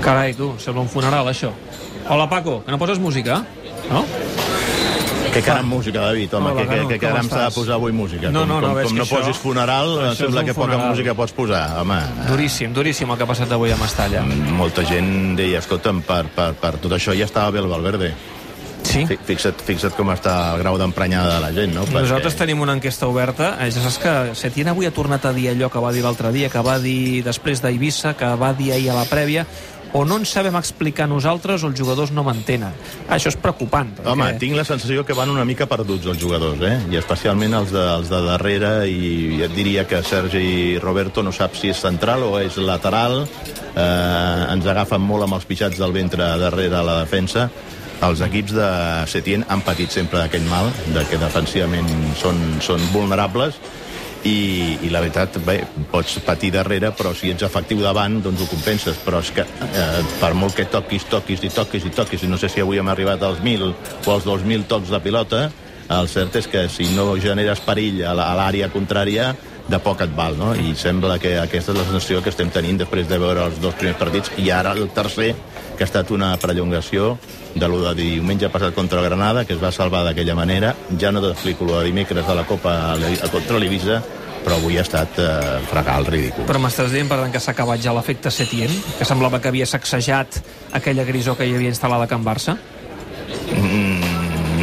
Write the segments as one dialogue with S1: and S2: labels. S1: Carai, tu, sembla un funeral, això. Hola, Paco, que no poses música? No?
S2: Que caram música, David, home,
S1: Hola,
S2: que, que,
S1: Cano,
S2: que
S1: com
S2: caram s'ha de
S1: estàs?
S2: posar avui música.
S1: No,
S2: com,
S1: no, no,
S2: com,
S1: és
S2: com
S1: que
S2: no
S1: això-
S2: posis funeral,
S1: això
S2: em
S1: és
S2: sembla
S1: un
S2: que poca
S1: funeral.
S2: música pots posar, home.
S1: Duríssim, duríssim el que ha passat avui a Mestalla.
S2: Molta gent deia, escolta'm, per, per, per tot això ja estava bé el Valverde.
S1: Sí?
S2: Fi- Fixa't, fixa't com està el grau d'emprenyada de la gent, no?
S1: Nosaltres tenim una enquesta oberta. Eh, Ja saps que Setién avui ha tornat a dir allò que va dir l'altre dia, que va dir després d'Eivissa, que va dir ahir a la prèvia, o no ens sabem explicar nosaltres o els jugadors no m'entenen. Això és preocupant. Perquè...
S2: Home, tinc la sensació que van una mica perduts els jugadors, eh? I especialment els de, els de darrere, i et diria que Sergi Roberto no sap si és central o és lateral, eh, ens agafen molt amb els pitjats del ventre darrere la defensa. Els equips de Setien han patit sempre d'aquest mal, de que defensivament són, són vulnerables, i, i la veritat, bé, pots patir darrere, però si ets efectiu davant, doncs ho compenses, però és que eh, per molt que toquis, toquis i toquis i toquis, i no sé si avui hem arribat als 1.000 o als 2.000 tocs de pilota, el cert és que si no generes perill a la- a l'àrea contrària, de poc et val, no? I sembla que aquesta és la sensació que estem tenint després de veure els dos primers partits i ara el tercer, que ha estat una prellongació de lo de diumenge passat contra el Granada, que es va salvar d'aquella manera. Ja no t'explico lo de dimecres de la Copa a l'I- a contra l'Ibiza, però avui ha estat eh, fregal ridícul.
S1: Però m'estàs dient, per tant, que s'ha acabat ja l'efecte Setién? Que semblava que havia sacsejat aquella grisó que hi havia instal·lada a Can Barça?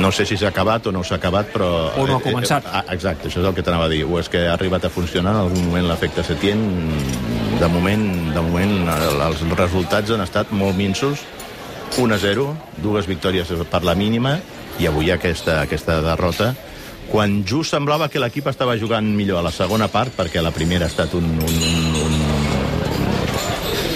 S2: No sé si s'ha acabat o no s'ha acabat, però...
S1: O no ha
S2: eh, eh,
S1: començat.
S2: ah, Exacte, això és el que t'anava a dir. O és que ha arribat a funcionar en algun moment l'efecte Setién. De moment, de moment, el- els resultats han estat molt minsos. 1 a 0, dues victòries per la mínima, i avui aquesta, aquesta derrota quan just semblava que l'equip estava jugant millor a la segona part, perquè la primera ha estat un, un, un,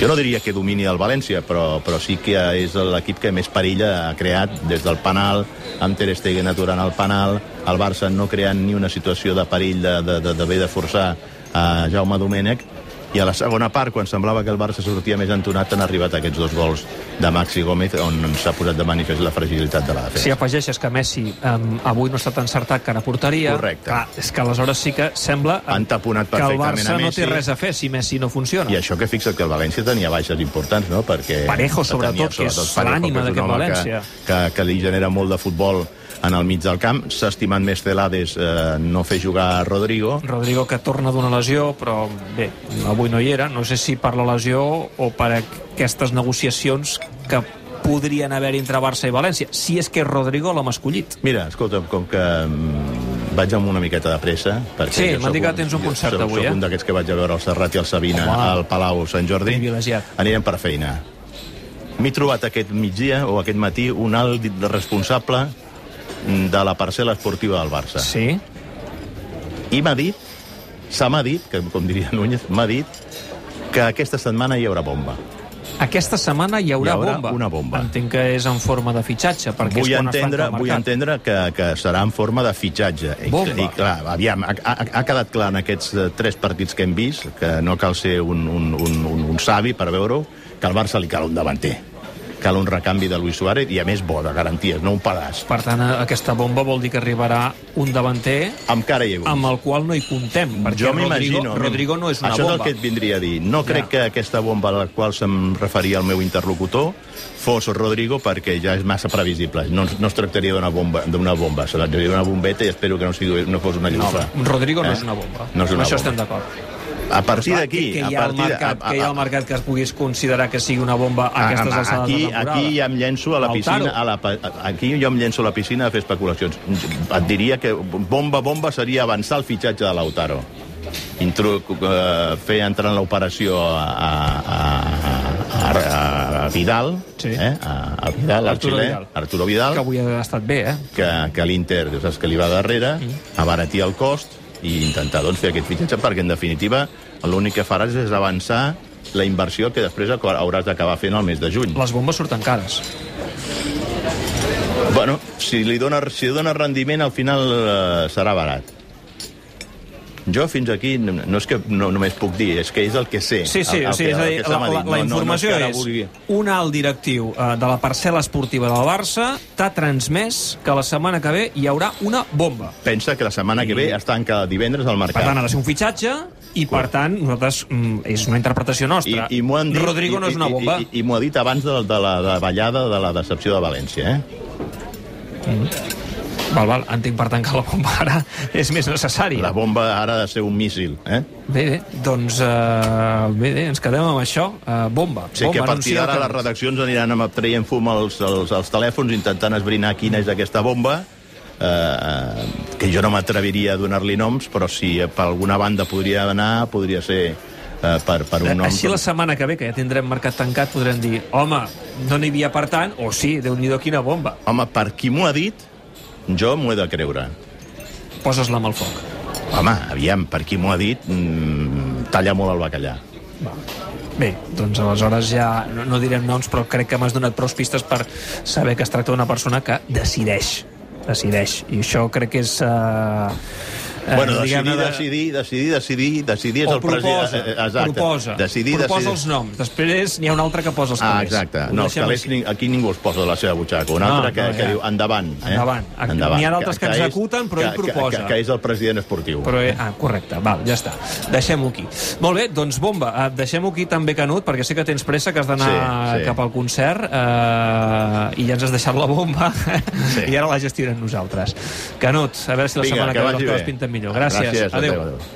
S2: jo no diria que domini el València, però, però sí que és l'equip que més perilla ha creat des del penal, amb Ter Stegen aturant el penal, el Barça no creant ni una situació de perill de- de- de- d'haver de, de forçar a Jaume Domènech, i a la segona part, quan semblava que el Barça sortia més entonat, han arribat aquests dos gols de Maxi Gómez, on s'ha posat de manifest la fragilitat de la defensa.
S1: Si afegeixes que Messi um, avui no ha estat encertat que a porteria,
S2: Correcte.
S1: clar, és que aleshores sí que sembla em,
S2: Han taponat
S1: que el
S2: perfectament
S1: Barça
S2: a
S1: no
S2: Messi.
S1: té res a fer si Messi no funciona.
S2: I això que fixa que el València tenia baixes importants, no? Perquè
S1: Parejo,
S2: tenia,
S1: sobretot, que és
S2: Parejo,
S1: l'ànima
S2: que és un
S1: d'aquest
S2: home
S1: València.
S2: Que, que, que li genera molt de futbol en el mig del camp. S'ha estimat més Celades eh, no fer jugar a Rodrigo.
S1: Rodrigo que torna d'una lesió, però bé, avui no hi era. No sé si per la lesió o per aquestes negociacions que podrien haver entre Barça i València, si és que Rodrigo l'hem escollit.
S2: Mira, escolta, com que mm, vaig amb una miqueta de pressa... Perquè
S1: Sí,
S2: jo
S1: m'han dit
S2: sóc
S1: que tens un
S2: jo
S1: concert
S2: sóc-
S1: avui, eh?
S2: Soc un d'aquests que vaig a veure el Serrat i el Sabina
S1: Home.
S2: al Palau Sant Jordi.
S1: Privilegiat.
S2: Anirem per feina. M'he trobat aquest migdia o aquest matí un alt responsable mm, de la parcel·la esportiva del Barça.
S1: Sí?
S2: I m'ha dit, se m'ha dit, que com diria Núñez, m'ha dit que aquesta setmana hi haurà bomba.
S1: Aquesta setmana hi haurà,
S2: Hi haurà
S1: bomba.
S2: una bomba.
S1: Entenc que és en forma de fitxatge, perquè
S2: Vull
S1: és quan
S2: entendre,
S1: es tanca el
S2: vull
S1: mercat.
S2: entendre que, que serà en forma de fitxatge. I,
S1: Bomba.
S2: I clar, aviam, ha, ha, ha quedat clar en aquests eh, tres partits que hem vist que no cal ser un, un, un, un, un savi per veure-ho, que al Barça li cal un davanter. Cal un recanvi de Luis Suárez i, a més, bo, de garanties, no un pedaç.
S1: Per tant, eh, aquesta bomba vol dir que arribarà un davanter
S2: Amb cara i ull.
S1: amb el qual no hi contem, perquè
S2: jo
S1: Rodrigo,
S2: m'imagino...
S1: Rodrigo no és una
S2: Això
S1: bomba.
S2: és el que et vindria a dir. No crec
S1: Ja.
S2: que aquesta bomba a la qual se'm referia el meu interlocutor fos Rodrigo perquè ja és massa previsible. No, es- no es tractaria d'una bomba, d'una bomba, se tractaria d'una bombeta i espero que no, sigui, no fos una
S1: No,
S2: llufa.
S1: Rodrigo no
S2: Eh?
S1: és una bomba.
S2: No és
S1: Amb
S2: una
S1: això
S2: bomba.
S1: estem d'acord.
S2: A partir
S1: Clar,
S2: d'aquí...
S1: que, que,
S2: a
S1: hi ha el
S2: partir de-
S1: mercat,
S2: a-
S1: que hi ha
S2: a-
S1: el mercat que es puguis considerar que sigui una bomba a aquestes
S2: Ah,
S1: alçades
S2: aquí,
S1: de temporada.
S2: aquí ja em llenço a la
S1: Lautaro.
S2: piscina a la, pa- aquí jo em llenço a la piscina a fer especulacions et diria que bomba bomba seria avançar el fitxatge de Lautaro Intro, eh, fer entrar en l'operació a, a, a, a, a Vidal
S1: Sí.
S2: eh? a, a Vidal, al
S1: Arturo
S2: xilè
S1: Vidal.
S2: Arturo Vidal
S1: Que avui ha estat bé, eh?
S2: que, que l'Inter, ja saps que li va darrere,
S1: Mm.
S2: abaratir el cost i intentar doncs, fer aquest fitxatge, perquè en definitiva l'únic que faràs és avançar la inversió que després ac- hauràs d'acabar fent al mes de juny.
S1: Les bombes surten cares.
S2: Bueno, si li dona, si dona rendiment, al final eh, serà barat. Jo fins aquí, no no és que no, només puc dir, és que és el que sé.
S1: Sí, sí,
S2: el, el
S1: sí
S2: que,
S1: és a
S2: el
S1: dir,
S2: que se
S1: la,
S2: m'ha
S1: la,
S2: dit.
S1: la
S2: No, no, no és
S1: informació
S2: que ara
S1: és,
S2: vulgui-
S1: un alt directiu eh, de la parcel·la esportiva del Barça t'ha transmès que la setmana que ve hi haurà una bomba.
S2: Pensa que la setmana que ve es tanca divendres al
S1: Per
S2: mercat.
S1: tant, ha de ser un fitxatge I, per tant, nosaltres, mm, és una interpretació nostra.
S2: I, i m'ho han dit...
S1: Rodrigo no és una bomba.
S2: I, i, i, i m'ho ha dit abans de, de la de ballada de la decepció de València, eh?
S1: Val, val, entenc, per tant, que la bomba ara és més necessària.
S2: La bomba ara ha de ser un míssil, eh?
S1: Bé, bé, doncs eh, bé, bé, ens quedem amb això. Eh, bomba.
S2: O sigui
S1: bomba,
S2: que a partir
S1: anuncia
S2: d'ara
S1: que-
S2: les redaccions aniran amb traient fum als, als, als telèfons intentant esbrinar quina és aquesta bomba eh, que jo no m'atreviria a donar-li noms però si per alguna banda podria anar podria ser eh, per, per un nom
S1: Eh, Així la setmana que ve, que ja tindrem mercat tancat, podrem dir, home, no n'hi havia per tant, o sí, déu nhi quina bomba.
S2: home, per qui m'ho ha dit jo m'ho he de creure
S1: Poses-la amb el foc.
S2: home, aviam, per qui m'ho ha dit mm, talla molt el bacallà
S1: Bé, doncs aleshores ja no, no direm noms, però crec que m'has donat prou pistes per saber que es tracta d'una persona que decideix, decideix. I això crec que és... Eh, eh,
S2: Bueno, decidir,
S1: diguem-ne, de-
S2: decidir, decidir, decidir, decidir és
S1: o
S2: el president...
S1: proposa,
S2: eh, Exacte.
S1: proposa,
S2: Decidir,
S1: proposa
S2: decidir.
S1: els noms. Després n'hi ha un altre que posa els
S2: Ah,
S1: calés.
S2: exacte.
S1: Ho
S2: No, els
S1: deixem
S2: calés
S1: així.
S2: ni- aquí ningú els posa de la seva butxaca. Un
S1: No,
S2: altre que,
S1: no,
S2: que
S1: ja.
S2: diu endavant. Eh?
S1: Endavant. N'hi ha d'altres que
S2: és-
S1: executen, però ell
S2: que- que-
S1: proposa.
S2: Que, que, és el president esportiu.
S1: Però, eh, ah, correcte, val, ja està. Deixem-ho aquí. Molt bé, doncs bomba, eh, deixem-ho aquí també, Canut, perquè sé que tens pressa, que has d'anar
S2: Sí, sí.
S1: cap al concert eh, i ja ens has deixat la bomba
S2: Sí.
S1: i ara la gestionem nosaltres. Canut, a veure si la
S2: Vinga,
S1: setmana
S2: que
S1: que, ve
S2: vagi
S1: les coses
S2: bé.
S1: pinten millor. Gràcies,
S2: Gràcies, adéu,
S1: adéu.
S2: adéu.